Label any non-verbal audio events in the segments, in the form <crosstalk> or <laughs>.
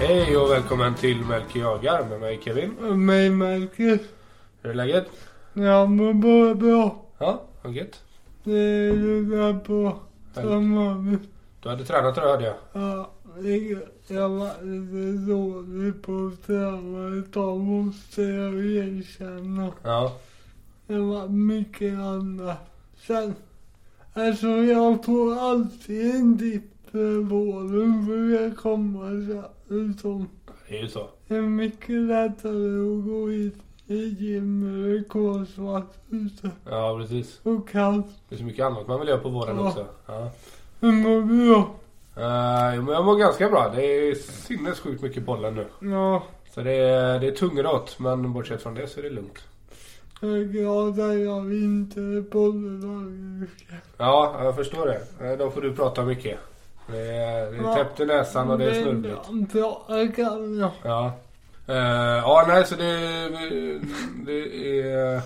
Hej och välkommen till Melker jagar med mig Kevin. Mig Melker. Hur är läget? Ja men bara bra. Ja, vad gött. Det ligger på som vanligt. Du hade tränat idag hörde jag. Ja, ligger- jag var lite dålig på att träna ett tag måste jag erkänna. Ja. Det var mycket annat. Sen, alltså jag får alltid en dipp på våren för jag kommer så utom. Det är ju så. Det är mycket lättare att gå hit i gym när det är kolsvart ute Ja, precis. och kallt. Det är så mycket annat man vill göra på våren Ja. också. Ja. Hur mår du då? Eh, jo, men jag mår ganska bra. Det är sinnessjukt mycket pollen nu. Ja, Så det är, det är tungrot, men bortsett från det så är det lugnt. jag är glad att jag inte är pollenallergiker. Ja, jag förstår det. Eh, Då får du prata mycket. Det är, det är Ja. täppt i näsan och det är snurrigt. Men bra, jag kan jag. Ja. Eh, ja, nej, så det, det, är,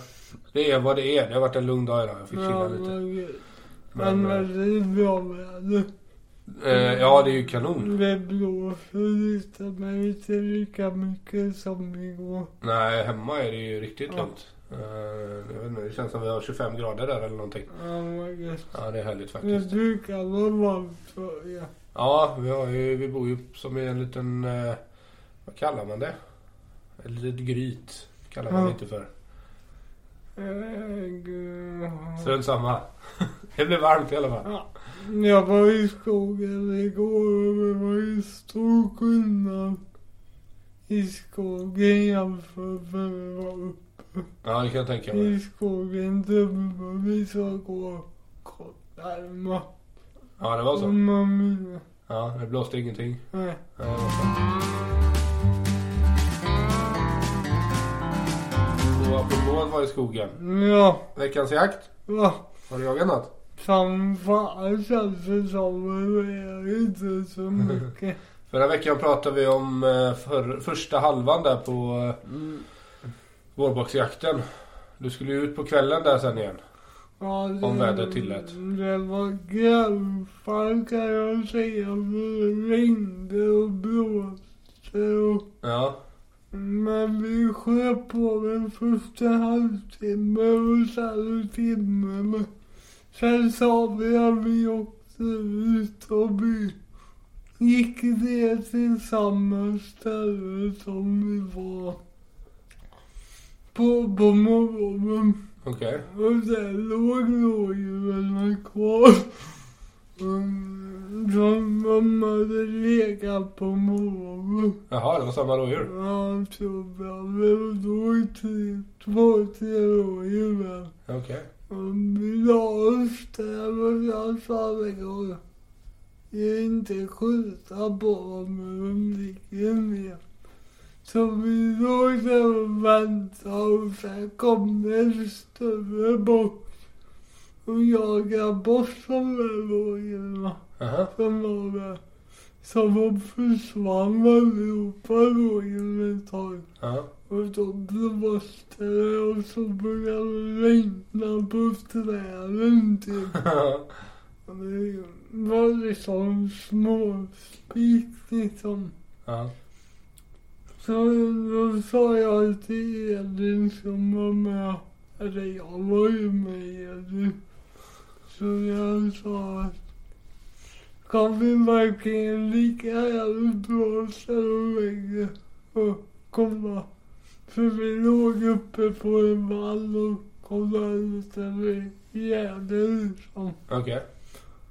det är vad det är. Det har varit en lugn dag idag. Jag fick chilla Ja, lite. men gud. Men, Men väldigt bra väder. Eh, ja, det är ju kanon. Det blåser lite men inte lika mycket som igår. Nej, hemma är det ju riktigt Ja. lugnt. Eh, jag vet inte, det känns som vi har 25 grader där eller någonting. Ja, men gud. Ja, det är härligt Det faktiskt. brukar vara varmt för er. Ja, vi, har ju, vi bor ju som i en liten... Eh, vad kallar man det? Ett litet gryt. Kallar man Ja. det inte för. Eh, gud. Strunt samma. <laughs> det blir varmt i alla fall. Ja, jag var i skogen igår och det var ju stor skillnad i skogen jämfört med när vi var uppe Ja, det kan jag tänka mig. i skogen. Dubbelvis var går kortärma. Ja, det var så. Om man vill. Ja, det blåste ingenting. Nej. Ja, det var så. Och apropå att vara i skogen. Ja, Veckans jakt. va? Har du jagat något? Som fan känns det som. men Det är inte så mycket. Förra veckan pratade vi om eh, för, första halvan där på eh, vårboxjakten. Du skulle ju ut på kvällen där sen igen. Ja, det, Om vädret tillät. Det var grövfall kan jag säga. för Det ringde och blåste. Och, Ja, men vi sköt på den första halvtimmen och sen timmen. Men Sen sa vi att vi åkte ut och vi gick ner till samma ställe som vi var på, på morgonen. okej. Och där låg rådjuren kvar. Mm, Som de hade legat på morgonen. Jaha, det var samma rådjur. Ja, tror jag. Men då låg tre- två, tre rådjur där. Okej. Och vi la oss där och jag sa det går. Jag inte skjuta på dem när de ligger ner. Så vi låg där och väntade och sen kom det en större bock och jagade bort de där rådjuren Aha. som var där. Så de försvann allihopa rådjuren ett tag. Ja. <laughs> Och då blåste det och så började det regna på träden typ. <laughs> Och Det var liksom småspik liksom. ja. Så då sa jag till Edvin som var med, eller jag var ju med Edvin. Så jag sa att kan vi verkligen ligga här och blåsa och lägga och kolla? För vi låg uppe på en vall och kollade ut över gärdet liksom. Okej.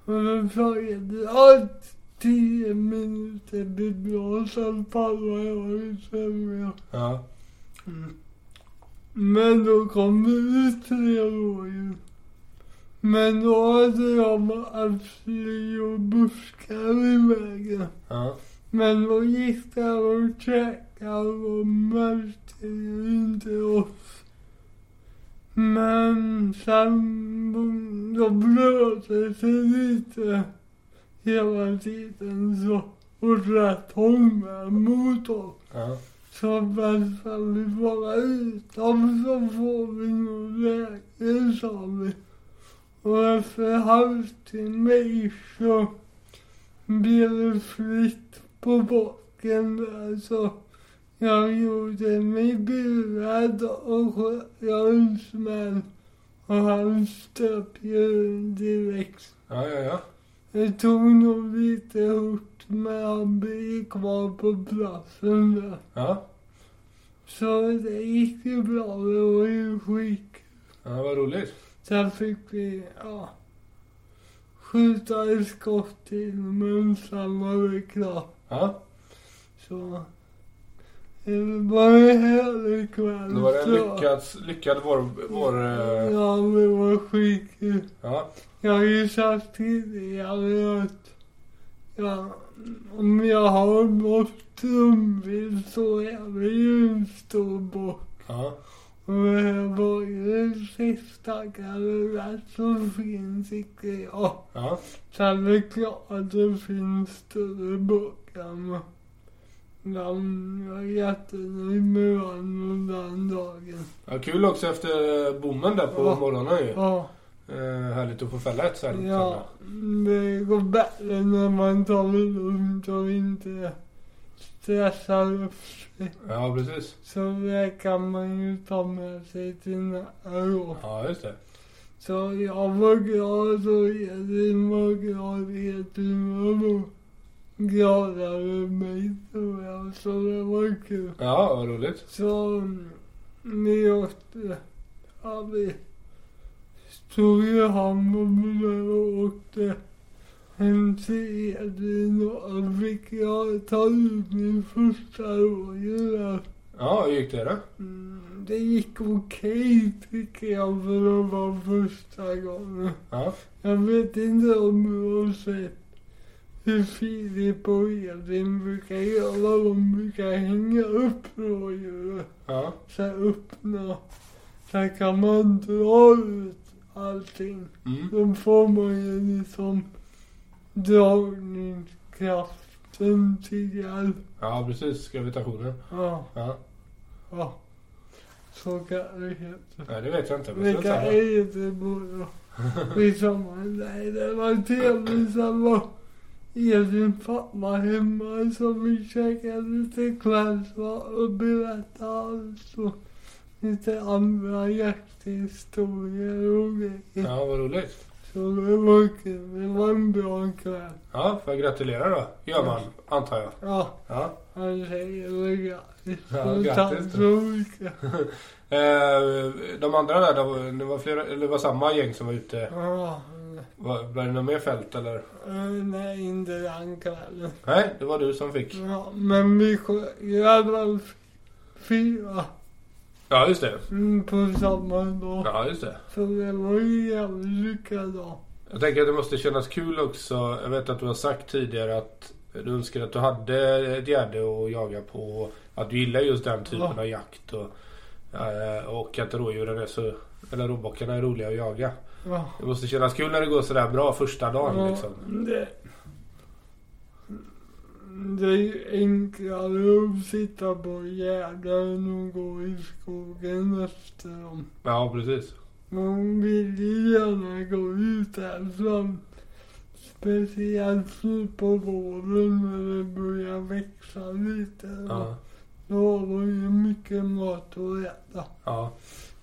Och då sa Edvin att tio minuter blir bra, sen pallar jag inte mer. Ja. Mm. Men då kom det ut tre rådjur. Men då hade jag absolut och buskar i vägen. Ja. Men då gick det och käkade och märkte ju inte oss. Men sen då blöt det sig lite hela tiden så åt rätt håll med mot oss. Ja. Så väntar vi bara ut dem så får vi nog läge, sa vi. Och efter en halvtimme ish så blev det fritt på bort backen. Alltså, jag gjorde mig burad och sköt höns med. Och han ströp ju direkt. Ja, ja, ja. Det tog nog lite hårt men han blev kvar på platsen där. Ja, Så det gick ju bra. Det var ju skick. ja vad roligt. Sen fick vi, ja, skjuta ett skott till men sen var det klart. Ja, Så det var en härlig kväll. då var det en så. lyckad, lyckad vår... vår eh, Ja, det var skitkul. ja, Jag har ju sagt tidigare att ja, om jag har något trumvilt så är det ju en stor bock. ja, Och det här var ju den sista gallrat som finns, tycker jag. ja. Sen är det klart att det finns större bockar men den jag är jättenöjd med den och den dagen. ja kul också efter eh, bommen där på Ja. morgonen ju. Ja, Eh, härligt att få fälla ett så här. ja, det går bättre när man tar det lugnt och inte stressar upp sig. ja, precis. Så det kan man ju ta med sig till nära år. Ja, just det. Så jag var glad och Elin var glad. Edvin var nog glad över mig tror jag. Så det var kul. Ja, vad roligt. Så mm, vi åkte, ja vi stod i hamnen och åkte hem till Edvin och då fick jag ta ut min första rådjur där. Ja, hur gick det då? Mm, Det gick okej tycker jag för att vara första gången. Ja, Jag vet inte om du har sett hur Filip och Edvin brukar göra. De brukar hänga upp rådjuret. ja, Så här öppna. Sen kan man dra ut allting. mm. Då får man ju liksom dragningskraften till hjälp. ja precis. Gravitationen. Ja, Ja, ja. Så kan det heta. nej, det vet jag inte. men strunt Vilka samma. är det båda? Midsommar? Nej, det var trevligt. Sen var Edvin pappa hemma så vi käkade lite kvällsmat och berättade allt och lite andra jakthistorier och grejer. Ja, vad roligt. Så det var kul. Det var en bra kväll. Ja, får jag gratulera då? Gör man, antar jag. Ja, Ja. han säger väl grattis. Ja, Och grattis Tack då. så mycket. Eh, de andra där, det var, det var, flera, eller det var samma gäng som var ute. Ja, Var, blev det något mer fält eller? eh, nej, inte den kvällen. Nej, det var du som fick. Ja, men vi sköt i alla fall fyra Ja, just det. mm, på samma dag. Ja, just det. Så det var ju jävligt lyckad dag. Jag tänker att det måste kännas kul också. Jag vet att du har sagt tidigare att du önskar att du hade ett gärde att jaga på. och Att du gillar just den typen Ja. av jakt. Och, eh, och att rådjuren är så... Eller råbockarna är roliga att jaga. Ja. Det måste kännas kul när det går sådär bra första dagen Ja, liksom. det, det är ju enklare att sitta på gärden än att gå i skogen efter dem. Ja, precis. Man vill ju gärna gå ut härifrån. Speciellt nu på våren när det börjar växa lite. Ja. Då var det ju mycket mat att äta. ja.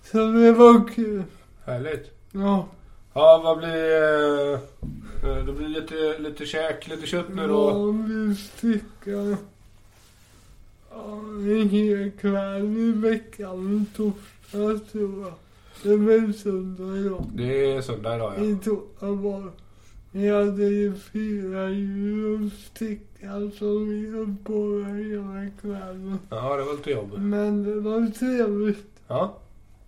Så det var kul. Härligt. Ja, Ja, vad blir... eh, eh, Det blir lite, lite käk, lite kött nu då. ja vi styckade ja, en hel kväll i veckan i torsdag tror jag. Det var söndag idag. Det är söndag idag ja. I torsdag var det. Vi hade ju fyra djur och styckade som vi höll på med hela kvällen. Ja, det var lite jobb. Men det var trevligt. Ja.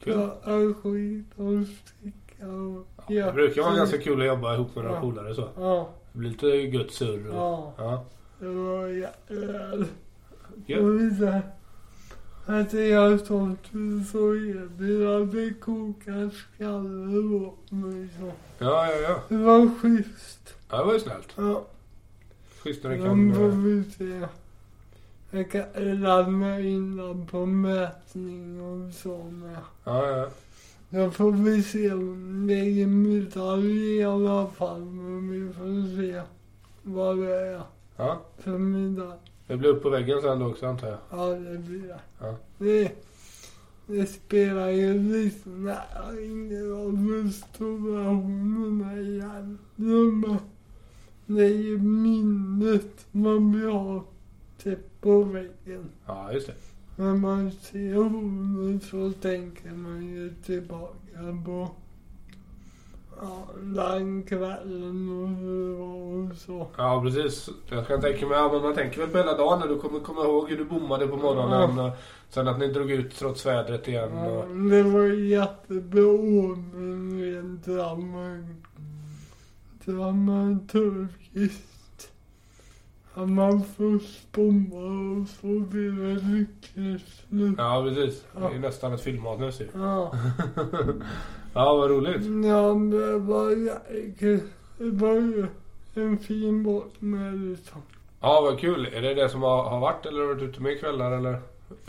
Kul. Jag är skit och stickade och Ja, det brukar vara jaktade. ganska kul att jobba ihop med några Ja. polare så. Ja. Det blir lite gött surr och... Ja, Ja. det var jävlar. Gött. Och vidare. Att jag som tur så erbjudande kokar skalle åt mig så. Ja, ja, ja. Det var schysst. Ja, det var ju snällt. Ja, Schysst när det men kan... får eh, vi se. Jag kan ladda innan på mätning och så med. Ja, ja. Då får vi se om det är medalj i alla fall. Men vi får se vad det är Ja, för medalj. Det blir upp på väggen sen då också antar jag. Ja, det blir det. Ja. Det, det spelar ju lite nära ingen roll hur stora honorna är egentligen. men Det är ju minnet man vill ha typ på väggen. Ja, just det. När man ser honor så tänker man ju tillbaka på ja, den kvällen och hur det var och så. Ja, precis. Jag kan tänka mig, ja, men man tänker väl på hela dagen när du kommer komma ihåg hur du bommade på morgonen. och Sen att ni drog ut trots vädret igen. Ja, Och, det var jättebra ordning rent drama- dramaturgiskt. Att man först bombar och så blir det lyckligt slut. ja, precis. Det är nästan ett filmmanus ju. <laughs> Ja. Ja, vad roligt. ja, men det var jättekul. Det var ju en fin båt med liksom. Ja, vad kul. Är det det som har, har varit eller har du varit ute mer kvällar eller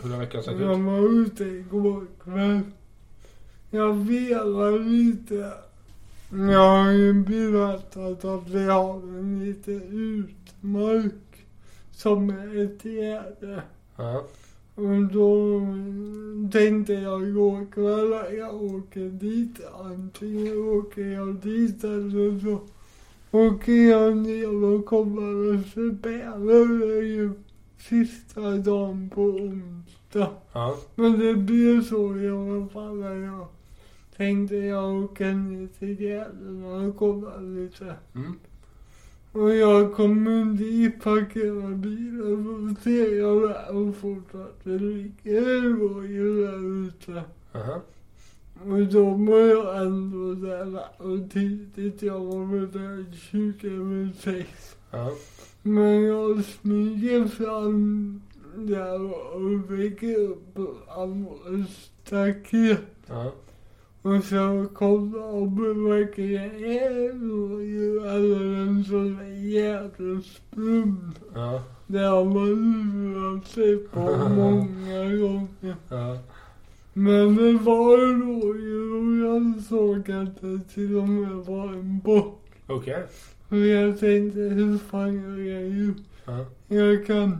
hur har veckan sett ut? Jag var ute igår kväll. Jag vevar lite. Jag har ju berättat att vi har en liten utmark som är ett gärde. Ja, Och då tänkte jag igår kväll att jag åker dit. Antingen åker jag dit eller så åker jag ner och kommer och förbereder det är ju sista dagen på onsdag. ja, Men det blir så i alla fall. när Jag tänkte jag åker ner till Gällivare och kollar lite. mm. Och jag kommer dit, parkerar bilen och ser jag där och fortfarande ligger det var ju där ute. Aha. Och då var jag ändå där och tidigt. Jag var väl där 20 över sex. ja. Men jag smyger fram där och väcker upp Amors staket. ja. Och så kollar och bevakar jag ju alldeles så jävligt stum. ja. Det har man lurat sig på många gånger. ja. Men det var rådjur och jag såg att det till och med var en bock. Okej. Och jag tänkte, hur fan gör jag ju? Ja. Jag kan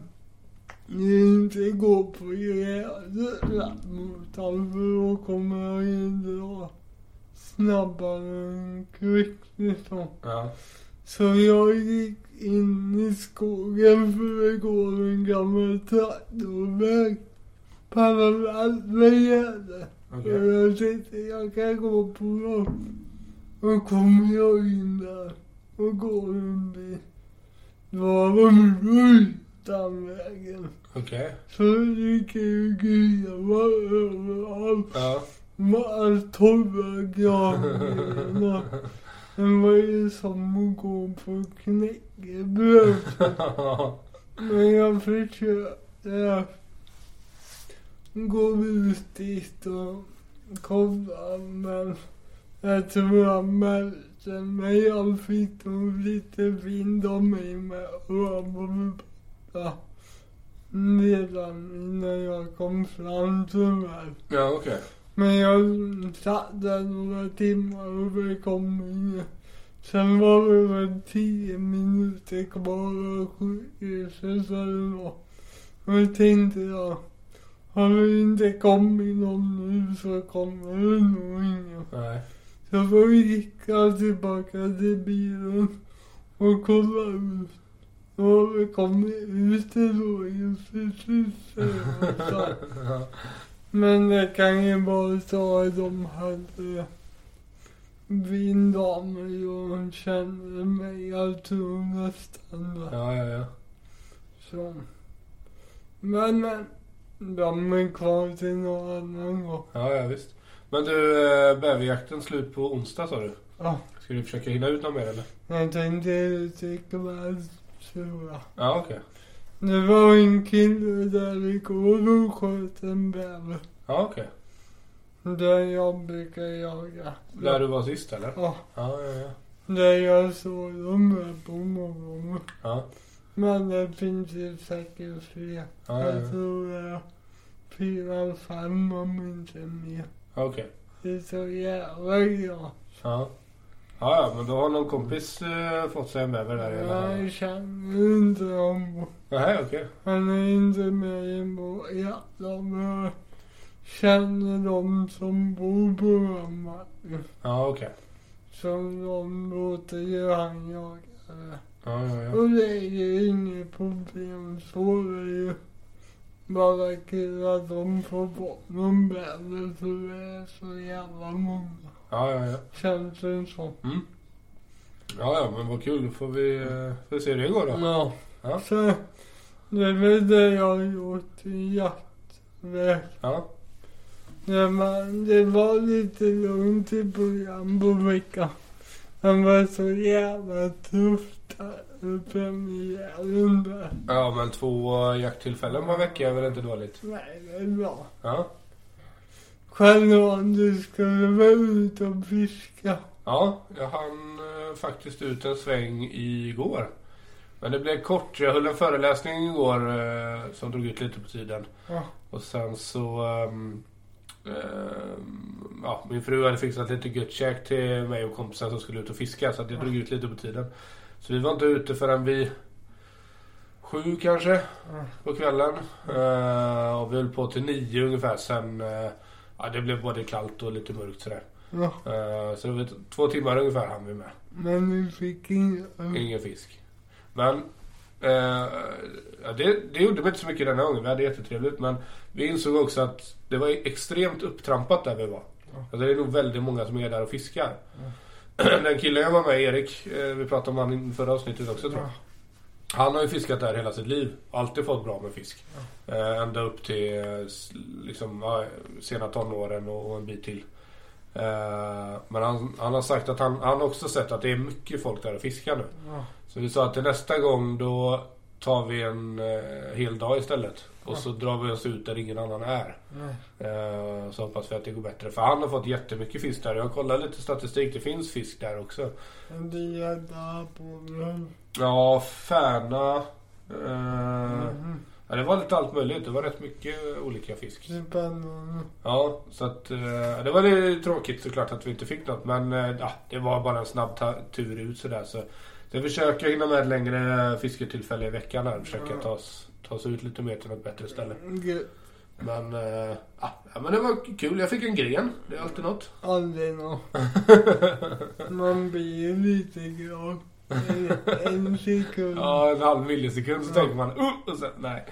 ju inte gå på gräset mot honom för då kommer jag ju dra snabbare än kvickt liksom. Ja. Så jag gick in i skogen för det går en gammal traktorväg parallellt med gärdet. Okej. Och jag tänkte jag kan gå på dem. Och kommer jag in där och går en bit. Då var de utan vägen. Okej. Så det gick ju grevar eh, överallt. Ja. <laughs> Med allt torra granarna. Det var ju som att gå på knäckebröd. Men jag försökte gå ut dit och kolla men jag tror jag märkte mig. Jag fick nog lite vind om mig med och jag var borta redan innan jag kom fram tyvärr. Ja, okej. Men jag satt där några timmar och det kom inget. Sen var det väl tio minuter kvar av sjukhuset eller nåt. Och då tänkte jag, har det inte kommit någon nu så kommer det nog ingen. Nej. Så då gick jag tillbaka till bilen och kollade ut. Då har det kommit ut ett rådjur precis där jag satt. Ja. Men det kan ju vara så att de hade vind av mig eh, och hon kände mig. Jag tror nästan det. Ja, ja, ja. Så. Men, men. De är kvar till någon annan gång. Ja, ja, visst. Men du, eh, bäverjakten slut på onsdag sa du. Ja, Ska du försöka hinna ut något mer eller? jag tänkte ut ikväll, tror jag. Ja, okej. Det var en kille där igår och sköt en bäver. Ja, okej. Där jag brukar jaga. Där du var sist eller? Ja, Ja, ja, ja. där jag såg dem här på morgonen. Ja, Men det finns ju säkert fler. ja, ja. Jag tror det är fyra, fem om inte mer. ja. Okej. Det är så jävla jag. Ja. Ja, ja, men då har någon kompis eh, fått sig en bäver där i alla fall. Jag känner inte honom. Nej, okej. Han är inte med i vår hjärta men jag känner de som bor på Öhman. Ja, okej. Som de låter ju han jaga. Ja, ja, ja. Och det är ju inget problem så det är ju. Bara kul att de får bort någon bäver för det är så jävla många. Ja, ja, ja. Känns det som. Mm. Ja, ja, men vad kul. Då får vi, eh, får vi se hur det går då. Ja. Ja. Så det är väl det jag har gjort i jaktväg. Ja, Ja, men det var lite lugnt i början på veckan. Han var så jävla tuff där uppe i Mjälen där. ja men två eh, jakttillfällen per vecka är väl inte dåligt? Nej, det är bra. Ja. Själv om du skulle vara ute och fiska. Ja, jag hann eh, faktiskt ut en sväng igår. Men det blev kort. Jag höll en föreläsning igår eh, som drog ut lite på tiden. Ja. Och sen så... ehm, ehm, ja, min fru hade fixat lite gött käk till mig och kompisar som skulle ut och fiska så att det drog ut lite på tiden. Så vi var inte ute förrän vi... Sju kanske Mm. på kvällen. Eh, och vi höll på till nio ungefär. Sen... eh, ja, det blev både kallt och lite mörkt sådär. ja. Eh, Så det var t- två timmar ungefär hann vi med. Men vi fick inga. Ingen fisk. Men eh, ja, det, det gjorde mig inte så mycket denna gången. Vi hade jättetrevligt. Men vi insåg också att det var extremt upptrampat där vi var. Ja. Alltså, det är nog väldigt många som är där och fiskar. Ja. <clears throat> Den killen jag var med, Erik, eh, vi pratade om han i förra avsnittet också tror jag. Han har ju fiskat där hela sitt liv. Alltid fått bra med fisk. Eh, ända upp till eh, s- liksom, ja, sena tonåren och, och en bit till. Eh, men han, han har sagt att han, han har också sett att det är mycket folk där och fiskar nu. Ja. Så vi sa att till nästa gång då tar vi en eh, hel dag istället. Och så drar vi oss ut där ingen annan är. Nej. Eh, så hoppas vi att det går bättre. För han har fått jättemycket fisk där. Jag kollar lite statistik. Det finns fisk där också. Men det är där på brunn. Ja, Färna. Eh, Mhm. ja, det var lite allt möjligt. Det var rätt mycket olika fisk. Spännande. Ja, så att eh, det var lite tråkigt såklart att vi inte fick något. Men eh, ja, det var bara en snabb ta- tur ut sådär. Så jag försöker hinna med ett längre fisketillfälle i veckan här. Försöka ta oss, ta oss ut lite mer till något bättre ställe. Gud. Men, eh, ja, ja, men det var kul. Jag fick en gren. Det är alltid något. <laughs> Aldrig något. Man blir ju lite glad. En, en sekund. ja, en halv millisekund så tänker man uh, och sen, nej.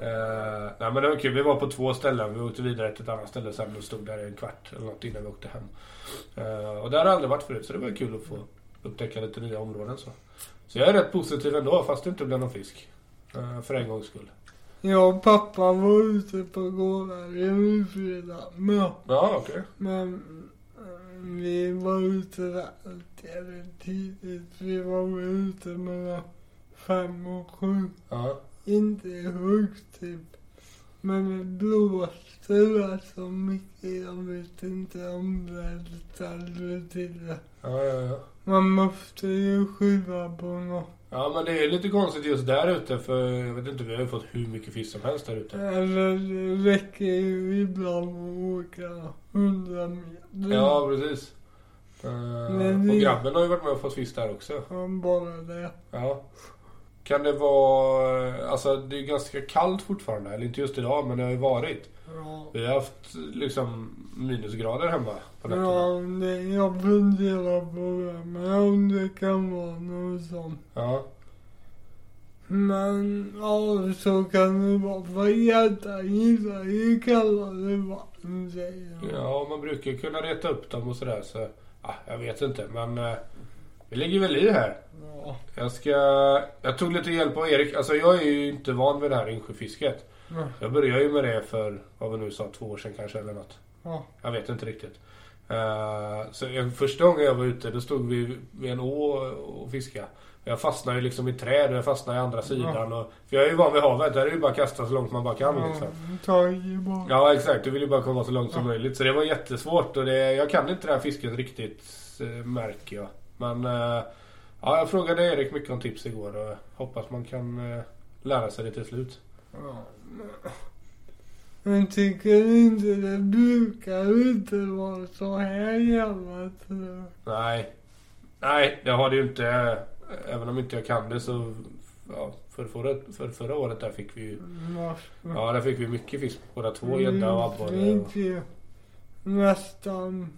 Eh, nej men det var kul. Vi var på två ställen. Vi åkte vidare till ett annat ställe sen och stod där i en kvart eller något innan vi åkte hem. Eh, och där har jag aldrig varit förut så det var kul att få upptäcka lite nya områden. Så, så jag är rätt positiv ändå fast det inte blev någon fisk. Eh, för en gångs skull. Jag och pappa var ute på gården i fredag med. Ja, okej. Men eh, vi var ute väldigt tidigt. Vi var väl ute mellan fem och sju. Ja. Inte högt typ. Men det blåste väl så mycket. Jag vet inte om det ställde till det. Ja, ja, ja. Man måste ju skylla på något. Ja men det är lite konstigt just där ute för jag vet inte, vi har ju fått hur mycket fisk som helst där ute. Eller det räcker ju ibland att åka hundra meter. Ja precis. Eh, Mm. Men och vi- grabben har ju varit med och fått fisk där också. Han bara det. Ja. Kan det vara... Alltså det är ganska kallt fortfarande. Eller inte just idag, men det har ju varit. Ja. Vi har haft liksom minusgrader hemma på nätterna. Ja, det, jag funderar på det. Men om det kan vara något sånt. Ja. Men ja, så kan det vara. För gäddar gillar ju kallare vatten säger de. ja, man brukar ju kunna reta upp dem och sådär. Så, ah, jag vet inte, men eh, vi ligger väl i här. Ja. Jag ska... Jag tog lite hjälp av Erik. Alltså jag är ju inte van vid det här insjöfisket. Ja. Jag började ju med det för, vad vi nu sa, två år sedan kanske eller något. Ja. Jag vet inte riktigt. Eh, så en, första gången jag var ute då stod vi vid en å och fiskade. Jag fastnade ju liksom i träd och jag fastnade i andra sidan. Och, för jag är ju van vid havet. Där är det ju bara att kasta så långt man bara kan. Liksom. Tag i bara. Ja exakt, du vill ju bara komma så långt som Ja. möjligt. Så det var jättesvårt och det, jag kan inte det här fisket riktigt eh, märker jag. Men eh, ja, jag frågade Erik mycket om tips igår och hoppas man kan eh, lära sig det till slut. Ja, men- Men tycker inte det brukar inte vara så här jävla trögt. Nej, Nej, det har det ju inte. Även om inte jag kan det så... Ja, för, förra, för förra året där fick vi ju... Massor. Ja, där fick vi mycket fisk. Båda två gädda och abborre. Vi och- fick Mm, nästan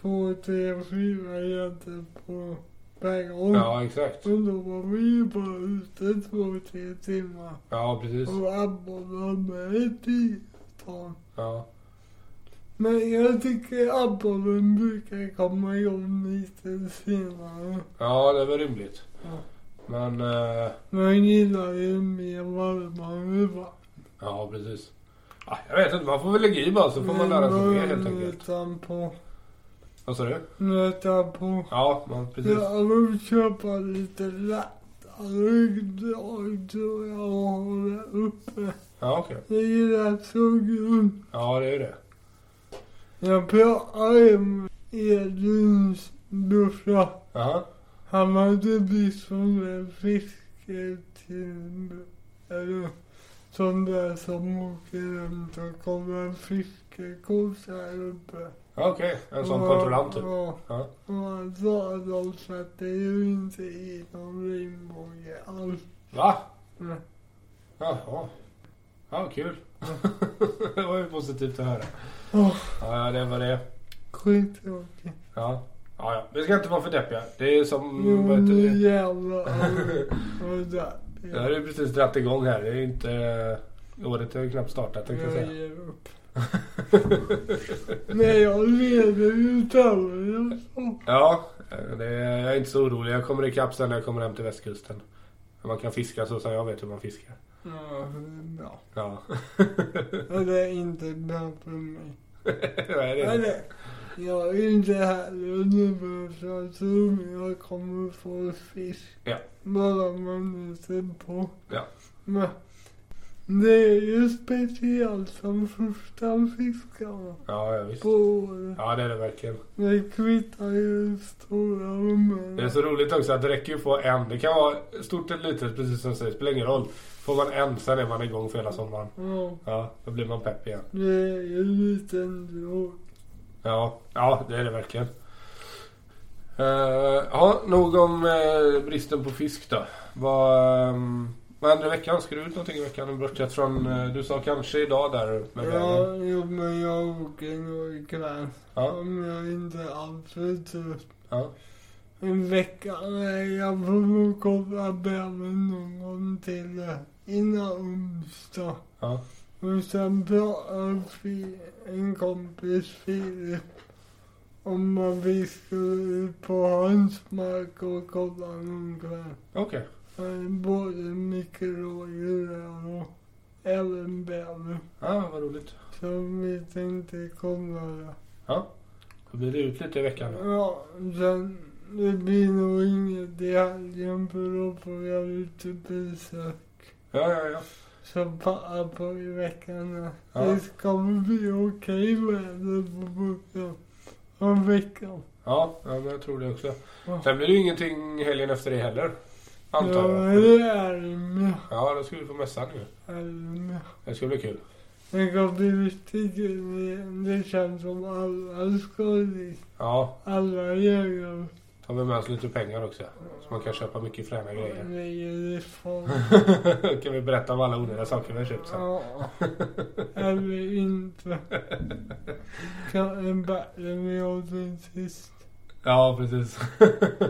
två, tre, fyra gäddor på per gång. Ja, exakt. Och då var vi ju bara ute två, tre timmar. Ja, precis. Och abborren var med i tiotal. Ja, Men jag tycker abborren brukar komma igång lite senare. ja det var rimligt. Ja. Men... eh, Men jag gillar ju mer varmare va. Ja, precis. Ja, jag vet inte, man får väl lägga i bara så får man lära sig mer helt enkelt. Utan på, Vad sa du? utan på. Ja, man, precis. Jag vill köpa lite lättare drag tror jag och hålla uppe. Ja, okej. Jag gillar sugrun. Ja, det är ju det. Jag pratade med Edvins brorsa. Jaha. Han hade blivit som en fiske till... Eller sån där som åker runt och kommer fiskekort här uppe. Ja, okej. En sån Och- kontrollant typ. Ja. Ja. Och han sa att de sätter ju inte i någon regnbåge alls. Va? Nej. Jaha. Ja, kul. Mm. <laughs> det var ju positivt att höra. Åh, Ja, ja, det var det. skittråkigt. Ja. Ja, ja. Vi ska inte vara för deppiga. Det är som... Jo, Mm, vad heter nu det? <laughs> jävlar. Och där. Jag har ju precis dragit igång här. Det är ju inte... Året har ju knappt startat, tänkte jag Jag säga. ger upp. Nej, jag lever ju utöver <laughs> Ja, det är, jag är inte så orolig. Jag kommer ikapp sen när jag kommer hem till västkusten. Man kan fiska så som jag vet hur man fiskar. Ja, det är bra. Ja. <laughs> Och det är inte bra för mig. Nej, det är det. Eller, jag är inte heller nervös. Jag tror jag kommer få fisk. Ja. Bara man är sig på. Ja. Men det är ju speciellt som första fiskarna Ja, ja, visst. på året. Ja, det är det verkligen. Det kvittar ju hur stora de är. Det är så roligt också att det räcker ju att få en. Det kan vara stort eller litet, precis som du säger. Spelar ingen roll. Får man en, sen är man igång för hela sommaren. Ja. Ja, då blir man pepp igen. Det är ju lite ändå. Ja, ja det är det verkligen. Eh, ja, nog om eh, bristen på fisk då. Vad, ehm, vad händer i veckan? Ska du ut någonting i veckan? Bortsett från, eh, du sa kanske idag där med vägen. Ja, jo, men jag åker nog ikväll. Ja. Om jag inte är alltför trött. Ja. En vecka, nej, jag får nog kolla bäven någon gång till eh, innan onsdag. Ja. Och sen pratar fi- en kompis Filip om att vi skulle ut på hans mark och kolla någon kväll. Okej. Eh, Både mycket rådjur där och även bäver. Ja, vad roligt. Så vi tänkte kolla det. Då blir det ut lite i veckan då. Ja, sen det blir nog inget i helgen för då får jag lite besök. Ja, ja, ja. Så pappa på i veckan. Ja. Det kommer bli okej väder på bussen. Om veckan. Ja, ja men jag tror det också. Ja. Sen blir det ju ingenting helgen efter det heller. Ja, Antar jag. det är med. Ja, då ska vi på mässan nu. Är med. Det ska bli kul. Det kommer bli riktigt kul igen. Det känns som alla ska dit. Ja, Alla jägare. tar vi med oss lite pengar också. Så man kan köpa mycket fräna grejer. <laughs> Nej, det är fan. Då kan vi berätta om alla onödiga saker vi har köpt sen. <laughs> Ja. Eller inte. Kan en bättre med oss än sist. Ja, precis. <laughs>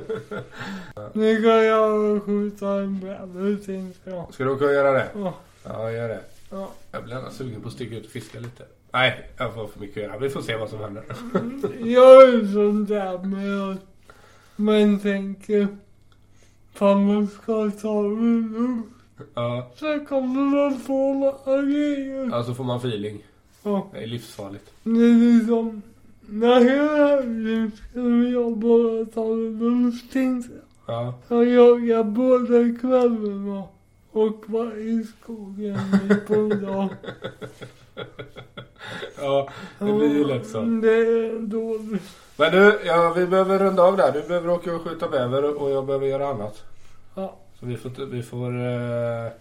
Nu kan jag skjuta en bättre tänkte jag. Ska du åka och göra det? Ja, Ja, gör det. ja. Jag blir gärna sugen på att sticka ut och fiska lite. Nej, jag får för mycket att göra. Vi får se vad som händer. Jag är sån där med att man tänker eh, fan man ska ta det lugnt. Ja, Sen kommer man få några grejer. ja, så får man feeling. Ja, Det är livsfarligt. det är liksom när jag är här skulle jag bara ta det lugnt tänkte jag. Ja, Jag jagar både kvällarna och var i skogen mitt på dagen. ja. <laughs> Det blir ju lätt så. Mm, Det är dåligt. Men du, ja, vi behöver runda av där. Du behöver åka och skjuta bäver och jag behöver göra annat. Ja. Så vi får, vi får, eh,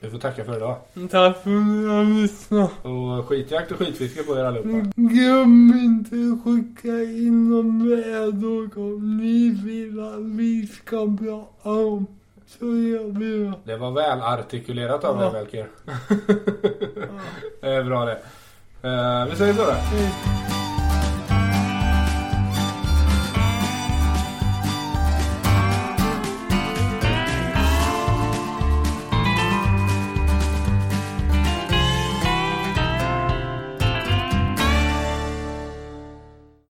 Vi får tacka för idag. Tack för att ni har lyssnat. Och skitjakt och skitfiske på er Mm. allihopa. Glöm inte att skicka in de vädor om ni vill att vi ska prata om. Så gör vi det. Det var väl artikulerat av dig Ja. Melker. <laughs> Ja, Eh, Bra det. Eh, Vi säger så då. hej.